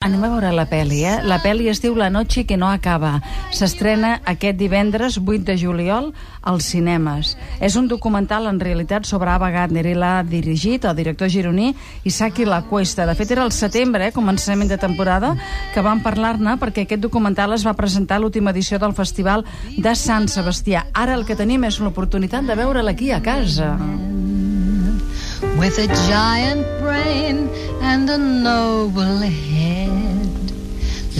anem a veure la pel·li, eh? La pel·li es diu La noche que no acaba. S'estrena aquest divendres 8 de juliol als cinemes. És un documental en realitat sobre Ava Gardner i l'ha dirigit el director gironí Isaki La Cuesta. De fet, era el setembre, eh, començament de temporada, que vam parlar-ne perquè aquest documental es va presentar a l'última edició del Festival de Sant Sebastià. Ara el que tenim és l'oportunitat de veure'l aquí a casa. with a giant brain and a noble head,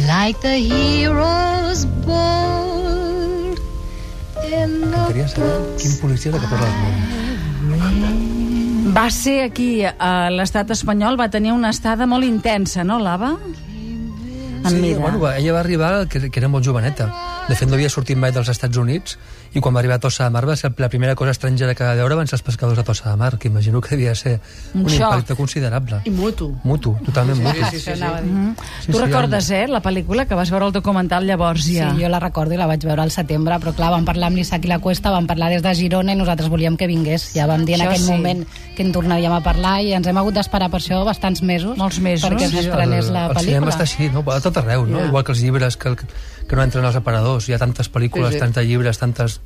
like the heroes bold in M'agradaria the saber quin policia és el que posa les mans. Va ser aquí, a l'estat espanyol, va tenir una estada molt intensa, no, l'Ava? En sí, mida. Bueno, va- ella va arribar, que, que era molt joveneta. De fet, no havia sortit mai dels Estats Units i quan va arribar a Tossa de Mar va ser la primera cosa estrangera que va veure van ser els pescadors de Tossa de Mar, que imagino que devia ser Un un, xoc. impacte considerable. I mutu. Mutu, totalment mutu. Sí, sí, sí. Tu recordes, eh, la pel·lícula que vas veure el documental llavors Sí, ja? jo la recordo i la vaig veure al setembre, però clar, vam parlar amb l'Isaac i la Cuesta, vam parlar des de Girona i nosaltres volíem que vingués. Ja vam dir en Això aquell sí. moment que en tornaríem a parlar i ens hem hagut d'esperar per això bastants mesos. Molts mesos. Perquè Sí, s'estrenés la el pel·lícula. cinema està així, no? a tot arreu, no? Ja. igual que els llibres que, que no entren als aparadors. Hi ha tantes pel·lícules, Sí, sí, sí. sí. tantes llibres, tantes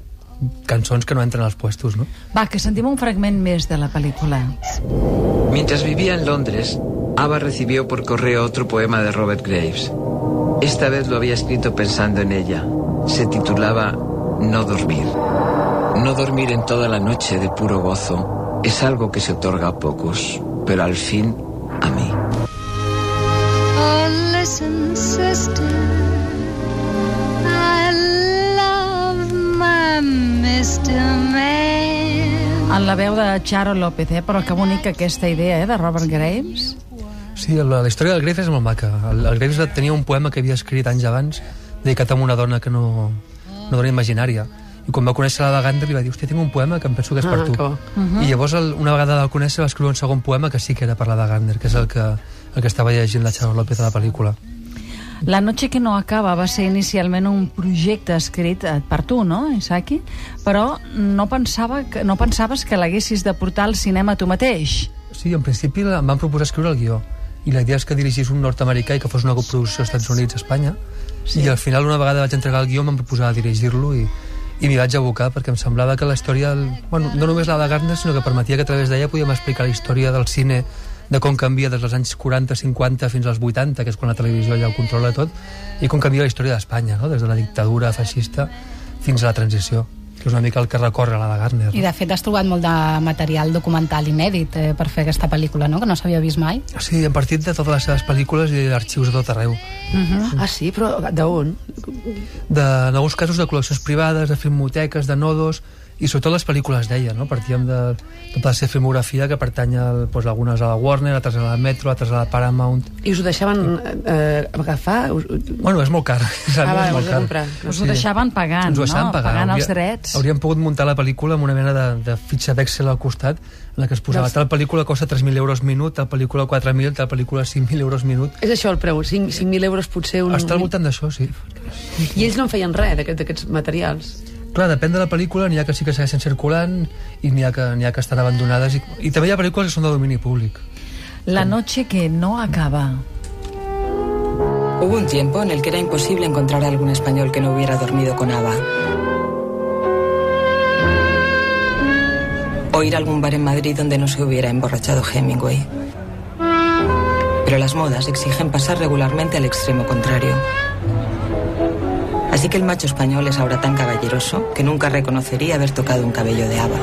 cançons que no entren als puestos. No? Va, que sentim un fragment més de la pel·lícula. Mientras vivía en Londres, Ava recibió por correo otro poema de Robert Graves. Esta vez lo había escrito pensando en ella. Se titulaba No dormir. No dormir en toda la noche de puro gozo es algo que se otorga a pocos, pero al fin a mí. Oh, listen, sister. I love my Mr. Man. En la veu de Charo López, eh? Però que bonica aquesta idea, eh?, de Robert Graves. Sí, la, la història del Graves és molt maca. El, el Graves tenia un poema que havia escrit anys abans dedicat a una dona que no... una dona imaginària. I quan va conèixer la Gandhi li va dir, hòstia, tinc un poema que em penso que és per Ah, tu. que bo. I llavors, el, una vegada el conèixer, va escriure un segon poema que sí que era per la de Gander, que és el que, el que estava llegint la Charo López a la pel·lícula. La noche que no acaba va ser inicialment un projecte escrit eh, per tu, no, Isaki? Però no, pensava que, no pensaves que l'haguessis de portar al cinema tu mateix. Sí, en principi la- em van proposar escriure el guió i la idea és que dirigís un nord-americà i que fos una coproducció als Estats Units-Espanya sí. i al final una vegada vaig entregar el guió em van proposar dirigir-lo i, i m'hi vaig abocar perquè em semblava que la història, el- bueno, no només la de Gardner sinó que permetia que a través d'ella podíem explicar la història del cine de com canvia des dels anys 40, 50 fins als 80, que és quan la televisió ja ho controla tot, i com canvia la història d'Espanya, no? des de la dictadura feixista fins a la transició, que és una mica el que recorre la de Gardner. I de fet has trobat molt de material documental inèdit eh, per fer aquesta pel·lícula, no? Que no s'havia vist mai. Sí, hem partit de totes les seves pel·lícules i d'arxius de tot arreu. Mhm. Mm. Ah, sí, però d'on? de, en alguns casos de col·leccions privades, de filmoteques, de nodos, i sobretot les pel·lícules d'ella, no? Partíem de, de la seva filmografia que pertany a, doncs, algunes a la Warner, altres a la Metro, altres a la Paramount... I us ho deixaven eh, agafar? Us, Bueno, és molt car. realment va, és molt us ho car. comprar. Ah, Us ho deixaven pagant, Ens ho deixaven no? pagar. Pagant Hauria- els drets. Hauríem pogut muntar la pel·lícula amb una mena de, de fitxa d'Excel al costat en la que es posava tal pel·lícula costa 3.000 euros minut, tal pel·lícula 4.000, tal pel·lícula 5.000 euros minut... És això el preu, 5 5.000 euros potser un... Està al voltant d'això, sí. I ells no en feien res d'aquest- d'aquests materials. Clar, depèn de la pel·lícula, n'hi ha que sí que segueixen circulant i n'hi ha, que, n'hi ha que estan abandonades. I, I també hi ha pel·lícules que són de domini públic. La noche que no acaba. Hubo un tiempo en el que era imposible encontrar a algún español que no hubiera dormido con Ava. O ir a algún bar en Madrid donde no se hubiera emborrachado Hemingway. Pero las modas exigen pasar regularmente al extremo contrario. Así que el macho español es ahora tan caballeroso que nunca reconocería haber tocado un cabello de Ava.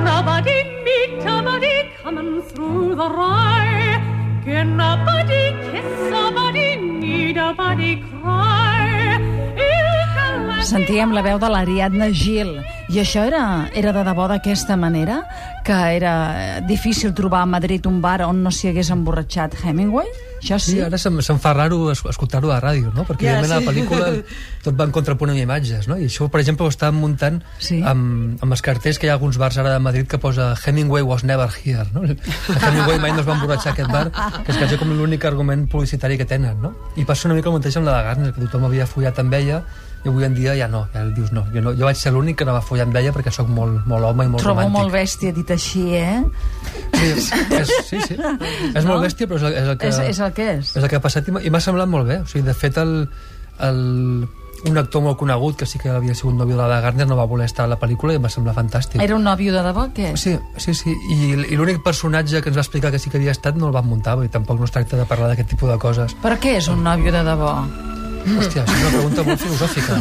Can nobody meet nobody coming through the rye? Can nobody kiss somebody, need nobody cry? If the light Sentíem la veu de l'Ariadna Gil i això era, era de debò d'aquesta manera que era eh, difícil trobar a Madrid un bar on no s'hi hagués emborratxat Hemingway? Això Sí, sí? ara se'm, se'm fa raro es- escoltar-ho a la ràdio, no? Perquè, Ja, yeah, evidentment, sí. sí. la pel·lícula tot va en contrapunt amb imatges, no? I això, per exemple, ho estàvem muntant Sí. sí. amb, amb els cartells que hi ha alguns bars ara de Madrid que posa Hemingway was never here, no? Que Hemingway mai no es va emborratxar a aquest bar, que és quasi com l'únic argument publicitari que tenen, no? I passa una mica el mateix amb la de Gardner, que tothom havia follat amb ella, I avui en dia ja no, ja dius no. Jo, no, jo vaig ser l'únic que no va follar amb ella perquè sóc molt, molt home i molt Trobo molt romàntic. bèstia dit així, eh? Sí, és, sí, sí. És No? molt bèstia, però és el, és el que... És, és el que és. És el que ha passat i m'ha- i m'ha semblat molt bé. O sigui, de fet, el, el, un actor molt conegut, que sí que havia sigut nòvio de la Gardner, no va voler estar a la pel·lícula i em va semblar fantàstic. Era un nòvio de debò, què? Sí, sí, sí. I, i l'únic personatge que ens va explicar que sí que havia estat no el van muntar, i tampoc no es tracta de parlar d'aquest tipus de coses. Però què és un nòvio de debò? Hòstia, és una pregunta molt filosòfica.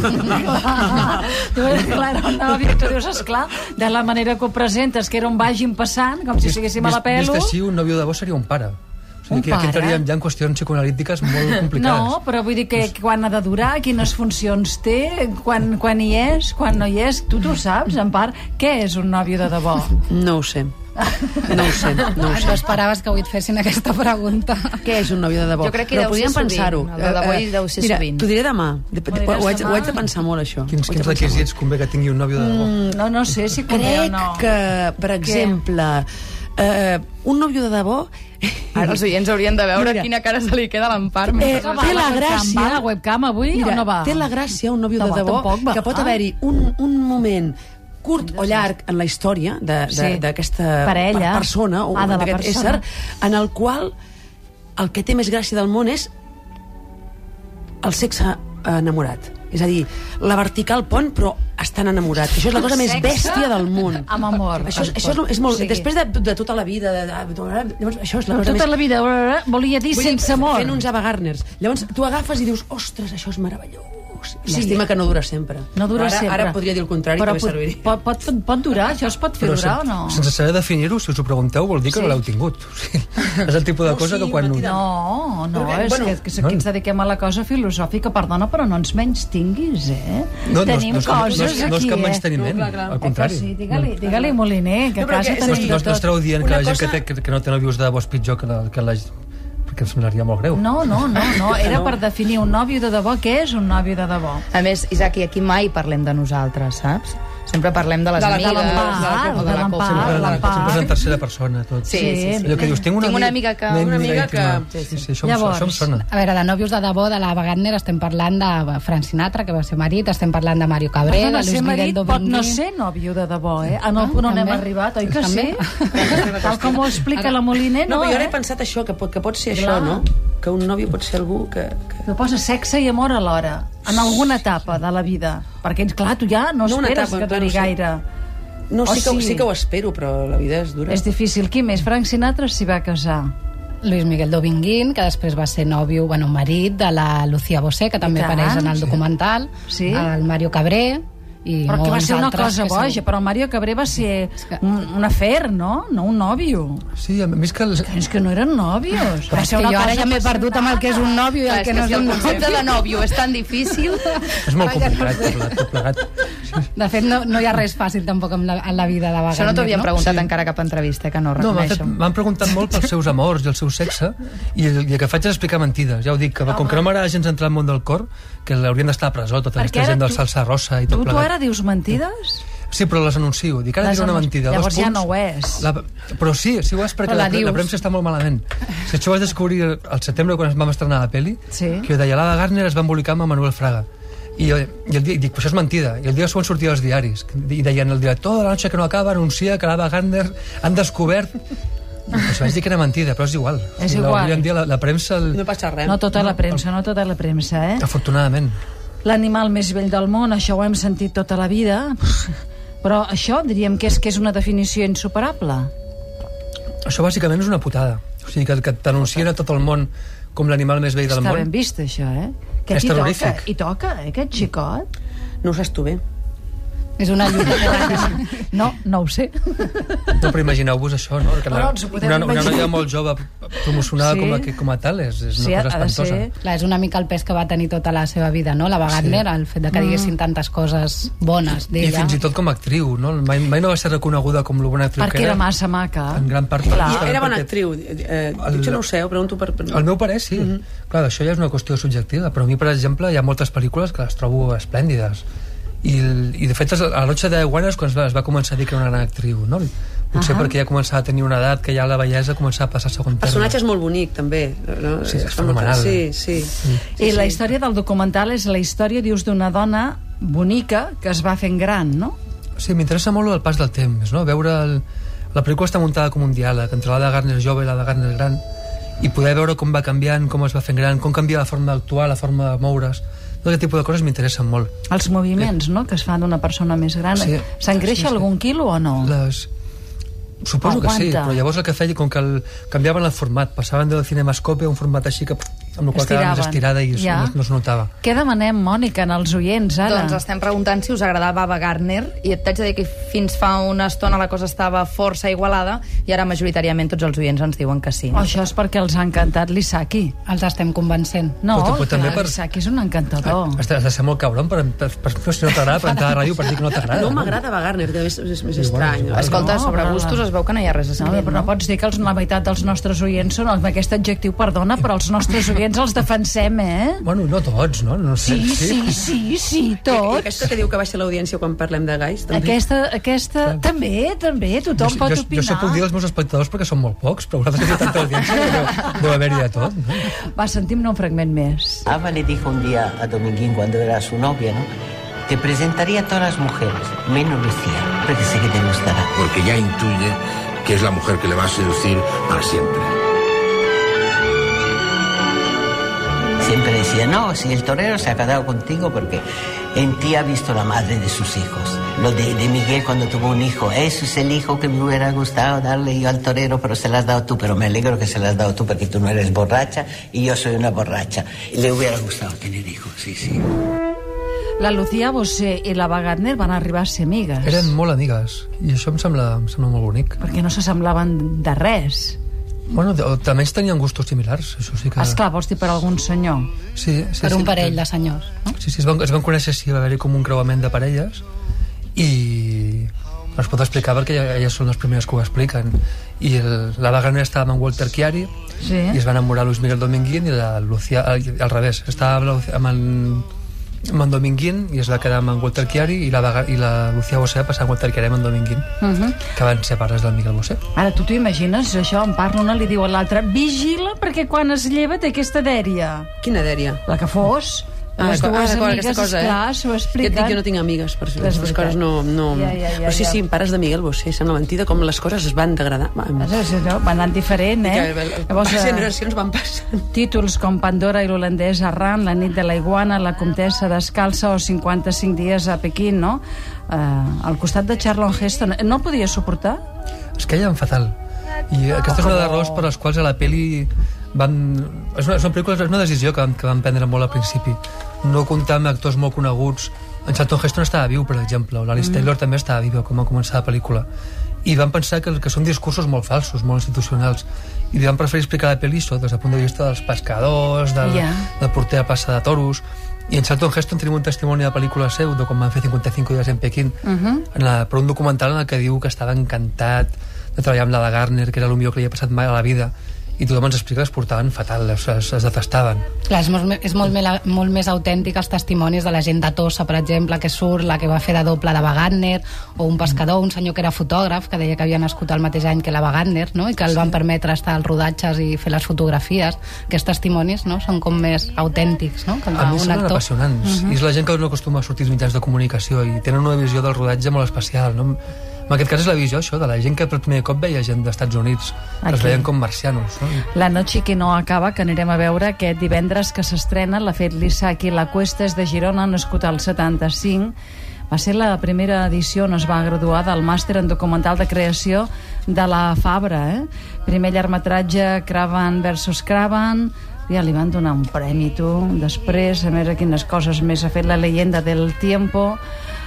tu eres clar, era un nòvio, tu dius, esclar, de la manera que ho presentes, que era un vagin passant, com si estiguéssim a la Vist- pelo. Vist així, un nòvio de vos seria un pare. O sigui, Un que aquí pare? entraríem ja en qüestions psicoanalítiques molt complicades. No, però vull dir que quan ha de durar, quines funcions té, quan, quan hi és, quan no hi és, tu tu ho saps, en part, què és un nòvio de debò? No ho sé. No ho sé, no ho No sé. esperaves que avui et fessin aquesta pregunta. Què és un nòvio de debò? Jo crec que Però deu ser podríem sovint, pensar-ho. el de debò Eh, eh, deu ser Mira, sovint. t'ho diré demà. De- de- diràs Ho, haig, demà? ho haig de pensar molt, això. Quins, quins Ho haig de pensar molt. requisits convé que tingui un nòvio de debò? No, no sé si convé o Crec no. que, per exemple, eh, un nòvio de debò Ara els oients haurien de veure Mira. quina cara se li queda a l'Empar. eh, mentre- Va té a la webcam, gràcia... Va a la webcam avui Mira, o no va? té la gràcia un nòvio No va, de debò tampoc va. Ah. que pot haver-hi un, un moment curt o llarg en la història de- Sí. de- d'aquesta Parella. per- persona o Ah, de la d'aquest persona. ésser, en el qual el que té més gràcia del món és el sexe eh, enamorat. És a dir, la vertical pont, però estan enamorat. Això és la cosa més Sexe bèstia del món. amb amor. Això, és, això és, lo- és molt... O sigui, Després de, de tota la vida... De, de, de, llavors, això és la cosa Tota més... la vida eh, volia dir Vull dir, sense amor. Fent uns avagarners. Llavors, tu agafes i dius, ostres, això és meravellós. Llàstima que no dura sempre. No dura ara, sempre. Ara podria dir el contrari, Però que bé pot- serviria. Pot, pot, pot durar? Això es pot fer Però durar sen- o no? sense saber definir-ho, si us ho pregunteu, vol dir que Sí. no l'heu tingut. O sigui, és el tipus de No, cosa sí, que quan... una un- tira- No, no, Però bé, és bueno, que, que aquí ens dediquem a la cosa filosòfica, perdona, però no ens menys tinguis, eh? No, no, Tenim no, és- no, és- coses no, és aquí, cap eh? menysteniment, No, clar, clar. al contrari. Eh, que Sí, digue-li, digue Moliner, que a No, però casa que- No, tenim... no, no estareu dient que Una la gent cosa- que, té, que, que no té nòvios de debò és pitjor que la, que la perquè em semblaria molt greu. No, no, no, no, era per definir un nòvio de debò. Què és un nòvio de debò? A més, Isaac, i aquí mai parlem de nosaltres, saps? Sempre parlem de les De la- de amigues. l'Empar, o de la l'Empar. cosa. Sempre- ah, la part. Sempre és en tercera persona, tot. Sí, sí, sí. Allò que dius, tinc una, Tinc una amiga que- una amiga que- íntima. Sí, sí, Llavors- això, Llavors, això em sona. A veure, de nòvios de debò de la Wagner estem parlant de Frank Sinatra, que va ser marit, estem parlant de Mario Cabrera, Perdona, Luis ser Miguel marit pot Domínguez... no ser nòvio de debò, eh? Ah, En el punt on també. hem arribat, oi que També. sí? Tal com ho explica la Moliner, No, no, però jo ara eh? he pensat això, que pot, que pot ser Clar. això, no? Que un nòvio pot ser algú que... que... Però posa sexe i amor alhora, en alguna etapa de la vida. Perquè, clar, tu ja no No una esperes etapa, que clar, duri no sé. gaire. No, Oh, sí, sí. que, sí que ho espero, però la vida és dura. És difícil. Qui més? Frank Sinatra s'hi va casar. Luis Miguel Dominguín, que després va ser nòvio, bueno, marit de la Lucía Bosé, que també tant, apareix en el documental, Sí. el Mario Cabré, i Però que va molts ser una altres cosa que segur- boja, però el Mario Cabré va ser que- un, un afer, no? No un nòvio. Sí, a més que... Les... És que no eren nòvios. Va És que ser una jo ara cosa ja m'he perdut amb el que és un nòvio i Clar, el és que no és és un el nòvio. concepte de nòvio és tan difícil. És molt complicat, tot plegat, tot plegat. De fet, no, no hi ha res fàcil tampoc en la, en la vida de Wagner. Això no t'ho havien no? preguntat encara a cap entrevista, que no, No, m'han fet- reconeixo. m'han preguntat molt pels seus amors i el seu sexe i el, i el que faig és explicar mentides. Ja ho dic, que com que no m'agrada gens entrar al món del cor, que haurien d'estar a presó tota Perquè aquesta ara gent del tu- salsa rosa i Tu, tot tu plegat. ara dius mentides? Sí, però les anuncio. Dic, ara Les diré una anunci- mentida. Llavors dos ja punts. no ho és. La, però sí, sí ho és perquè Però la, la la, dius. la premsa està molt malament. Si això ho vas descobrir al setembre quan es vam estrenar la peli, Sí. que deia l'Ada Gardner es va embolicar amb Manuel Fraga. I, jo, i el dia, i dic, però això és mentida. I el dia següent sortia als diaris. I deien, el director de la noche que no acaba anuncia que l'Ada Gardner han descobert... Pues vaig dir que era mentida, però és igual. És I la- igual. Avui en dia la, la premsa... El, No passa res. No tota la premsa, no tota la premsa, eh? Afortunadament. L'animal més vell del món, això ho hem sentit tota la vida, però això diríem que és que és una definició insuperable. Això bàsicament és una putada. O sigui, que, que t'anuncien a tot el món com l'animal més vell del Està món. ben vist, això, eh? És hi toca, terrorífic. hi toca, eh, aquest xicot? No ho saps tu bé. És una lluita. No, no ho sé. No, però imagineu-vos això, no? Que Però ens ho podem una, una imaginar. noia molt jove promocionada Sí. sí. com, a, que- com a tal és, és una Sí, sí, ha cosa de espantosa. ser... Clar, és una mica el pes que va tenir tota la seva vida, no? La Wagner, sí. el fet de que Mm. diguessin tantes coses bones I d'ella. fins i tot com a actriu, no? Mai, mai no va ser reconeguda com la bona actriu Perquè que era massa maca. En gran part. Clar. justament Era bona Ah, perquè- actriu. Eh, potser no ho sé, ho pregunto per... per... El meu pare sí. Mhm. Mm -hmm. Clar, això ja és una qüestió subjectiva, però a mi, per exemple, hi ha moltes pel·lícules que les trobo esplèndides. I, el- i de fet, a la Noche de Guanes, quan es va, es va començar a dir que era una gran actriu, no? Potser Ahà. perquè ja començava a tenir una edat que ja la bellesa començava a passar a segon terme. personatge és molt bonic, també. No? Sí, és fenomenal. Sí, sí. I la història del documental és la història, dius, d'una dona bonica que es va fent gran, no? Sí, m'interessa molt el pas del temps, no? Veure el... La pel·lícula està muntada com un diàleg entre la de Garner jove i la de Garner gran i poder veure com va canviant, com es va fent gran, com canvia la forma d'actuar, la forma de moure's. Tot aquest tipus de coses m'interessen molt. Els moviments, no?, que es fan d'una persona més gran. Sí. S'engreixa Sí, sí. algun quilo o no? Les... Suposo que sí, Aguanta. però llavors el que feia, com que el... canviaven el format, passaven del cinemascope a un format així que amb el qual quedava més estirada Estiraven. i Ja. ja. no, no es notava. Què demanem, Mònica, en els oients, ara? Doncs estem preguntant si us agradava Ava Gardner i et haig de dir que fins fa una estona la cosa estava força igualada i ara majoritàriament tots els oients ens diuen que sí. O això és perquè els ha encantat l'Isaki. Els estem convencent. No, Però tampoc que també per- l'Isaki és un encantador. Has de, has de ser molt cabron per, per, per, per si no t'agrada per entrar a la ràdio per dir que no t'agrada. No m'agrada Ava Gardner, que és, és més estrany. igual. Escolta, No, sobre però la- gustos es veu que no hi ha res No, escrit, però no pots dir que els, la meitat dels nostres oients són amb aquest adjectiu, perdona, però els nostres oients els defensem, eh? Bueno, no tots, no? no sé, Sí, sí, sí, sí, I tots. aquesta que diu que baixa l'audiència quan parlem de gais, també. Aquesta, aquesta, també, també, tothom pot jo, opinar. Jo, jo puc dir als meus espectadors perquè són molt pocs, però vosaltres que tanta audiència que deu, deu haver-hi de tot. No? Va, sentim-ne un fragment més. Ava le dijo un día a Dominguín cuando era su novia, ¿no? Te presentaría a todas las mujeres, menos Lucía, porque sé que te gustará. porque ya intuye que es la mujer que le va a seducir para siempre. Siempre decía, no, si el torero se ha quedado contigo porque en ti ha visto la madre de sus hijos. Lo de, de Miguel cuando tuvo un hijo, eso es el hijo que me hubiera gustado darle yo al torero, pero se lo has dado tú, pero me alegro que se lo has dado tú porque tú no eres borracha y yo soy una borracha. Le hubiera gustado tener hijos, sí, sí. La Lucía Bosé i la Ava Gardner van arribar a ser amigues. Eren molt amigues, i això em sembla, em sembla molt bonic. Perquè no s'assemblaven de res. Bueno, de- o també ens tenien gustos similars, això sí que... Esclar, vols dir per algun senyor. Sí, sí, Per sí, un parell de senyors. No? Sí, sí, es van, es van conèixer així, va haver-hi com un creuament de parelles i no es pot explicar perquè ja- elles són les primeres que ho expliquen. I el, la Wagner estava amb en Walter Chiari Sí. i es va enamorar Luis Miguel Dominguín i la Lucía, eh, al, al revés, estava amb, la Lucía- amb, en, amb en Dominguín i es va quedar amb en Walter Chiari i la, Vaga- i la Lucía Bosé va passar a Walter Chiari amb en Dominguín, uh -huh. que van ser pares del Miguel Bosé. Ara, tu t'ho imagines, això? En parla una, li diu a l'altra, vigila perquè quan es lleva té aquesta dèria. Quina dèria. La que fos. Ah, les d'acord, dues ah, d'acord, amigues, aquesta cosa, eh? esclar, s'ho Ja et expliquen. dic, jo no tinc amigues, per això És les veritat. coses no... no... Ja, ja, ja, Però sí, ja. sí, pares de Miguel Bosé, sembla mentida com les coses es van degradar. Va, amb- Saps, allò, Va anant diferent, eh? que les eh, generacions van passant. Títols com Pandora i l'holandès Arran, La nit de la iguana, La comtessa descalça o 55 dies a Pequín, no? Eh, al costat de Charlon Heston. Eh, No el podia suportar? Es queien fatal. I aquesta és una de les raons per les quals a la peli van... És una, és una, pel·lícula, és una decisió que van, que van prendre molt al principi. No comptar amb actors molt coneguts. En Charlton Heston estava viu, per exemple, o l'Alice mm. Taylor també estava viva com va començar la pel·lícula. I van pensar que, que són discursos molt falsos, molt institucionals. I li van preferir explicar la pel·li això, des del punt de vista dels pescadors, del, Ja. yeah. del porter a passa de toros... I en Charlton Heston tenim un testimoni de pel·lícula seu de com van fer 55 dies en Pequín uh -huh. en la, per un documental en el que diu que estava encantat de treballar amb la de Garner que era el millor que li havia passat mai a la vida i tothom ens explica que es portaven fatal es, es, es detestaven Clar, és, molt, me- és molt, mela- molt més autèntic els testimonis de la gent de Tossa, per exemple, que surt, la que va fer de doble de Wagner, o un pescador, un senyor que era fotògraf, que deia que havia nascut el mateix any que la Wagner, no? i que el van permetre estar als rodatges i fer les fotografies. Aquests testimonis no? són com més autèntics no? que el a mi d'un semblen actor. apassionants i és la gent que no acostuma a sortir als mitjans de comunicació i tenen una visió del rodatge molt especial no? en aquest cas és la visió això de la gent que per primer cop veia gent d'Estats Units que Aquí. els veien com marcianos no? La noche que no acaba, que anirem a veure aquest divendres que s'estrena, l'ha fet l'Isaki. La Cuesta és de Girona, nascut al 75. Va ser la primera edició on es va graduar del màster en documental de creació de la Fabra. Eh? Primer llargmetratge, Craven versus Craven, ja li van donar un premi, tu. Després, a més, a quines coses més ha fet la leyenda del tiempo.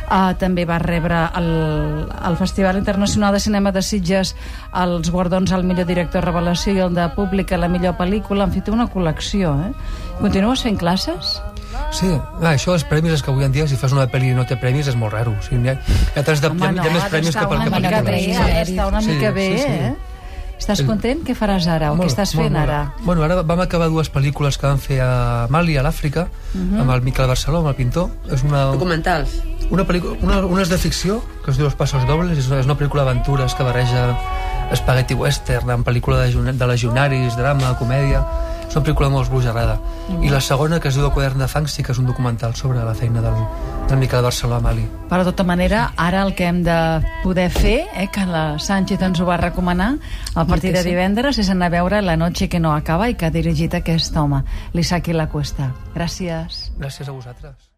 Uh, també va rebre el, el Festival Internacional de Cinema de Sitges els guardons al millor director revelació i el de públic a la millor pel·lícula. En fi, té una col·lecció, eh? Continues fent classes? Sí, ah, això dels premis és que avui en dia si fas una pel·li i no té premis és molt raro. O sigui, hi ha, hi ha, tres de, hi ha, hi ha més ha premis que per doncs una que mica bé, pel·lícules. ha d'estar una Sí, mica bé, sí, sí. eh? Estàs content? Què faràs ara? O Molt, què estàs molt, fent molt. ara? Bueno, ara vam acabar dues Mhm. pel·lícules que vam fer a Mali, a l'Àfrica, amb el Miquel Barceló, amb el pintor. És una... Documentals. Una, pel·lícula- una, una és de ficció, que es diu Els passos dobles, és una, és una pel·lícula d'aventures que barreja espagueti western, amb pel·lícula de, jun- de legionaris, drama, comèdia... És una pel·lícula molt esbojarrada. Mm. I la segona, que es diu El quadern de fang, sí que és un documental sobre la feina del, del Miquel Barceló Amali. Però de tota manera, ara el que hem de poder fer, eh, que la Sánchez ens ho va recomanar a partir de sí. divendres, és anar a veure La noche que no acaba i que ha dirigit aquest home, l'Isaki La Cuesta. Gràcies. Gràcies a vosaltres.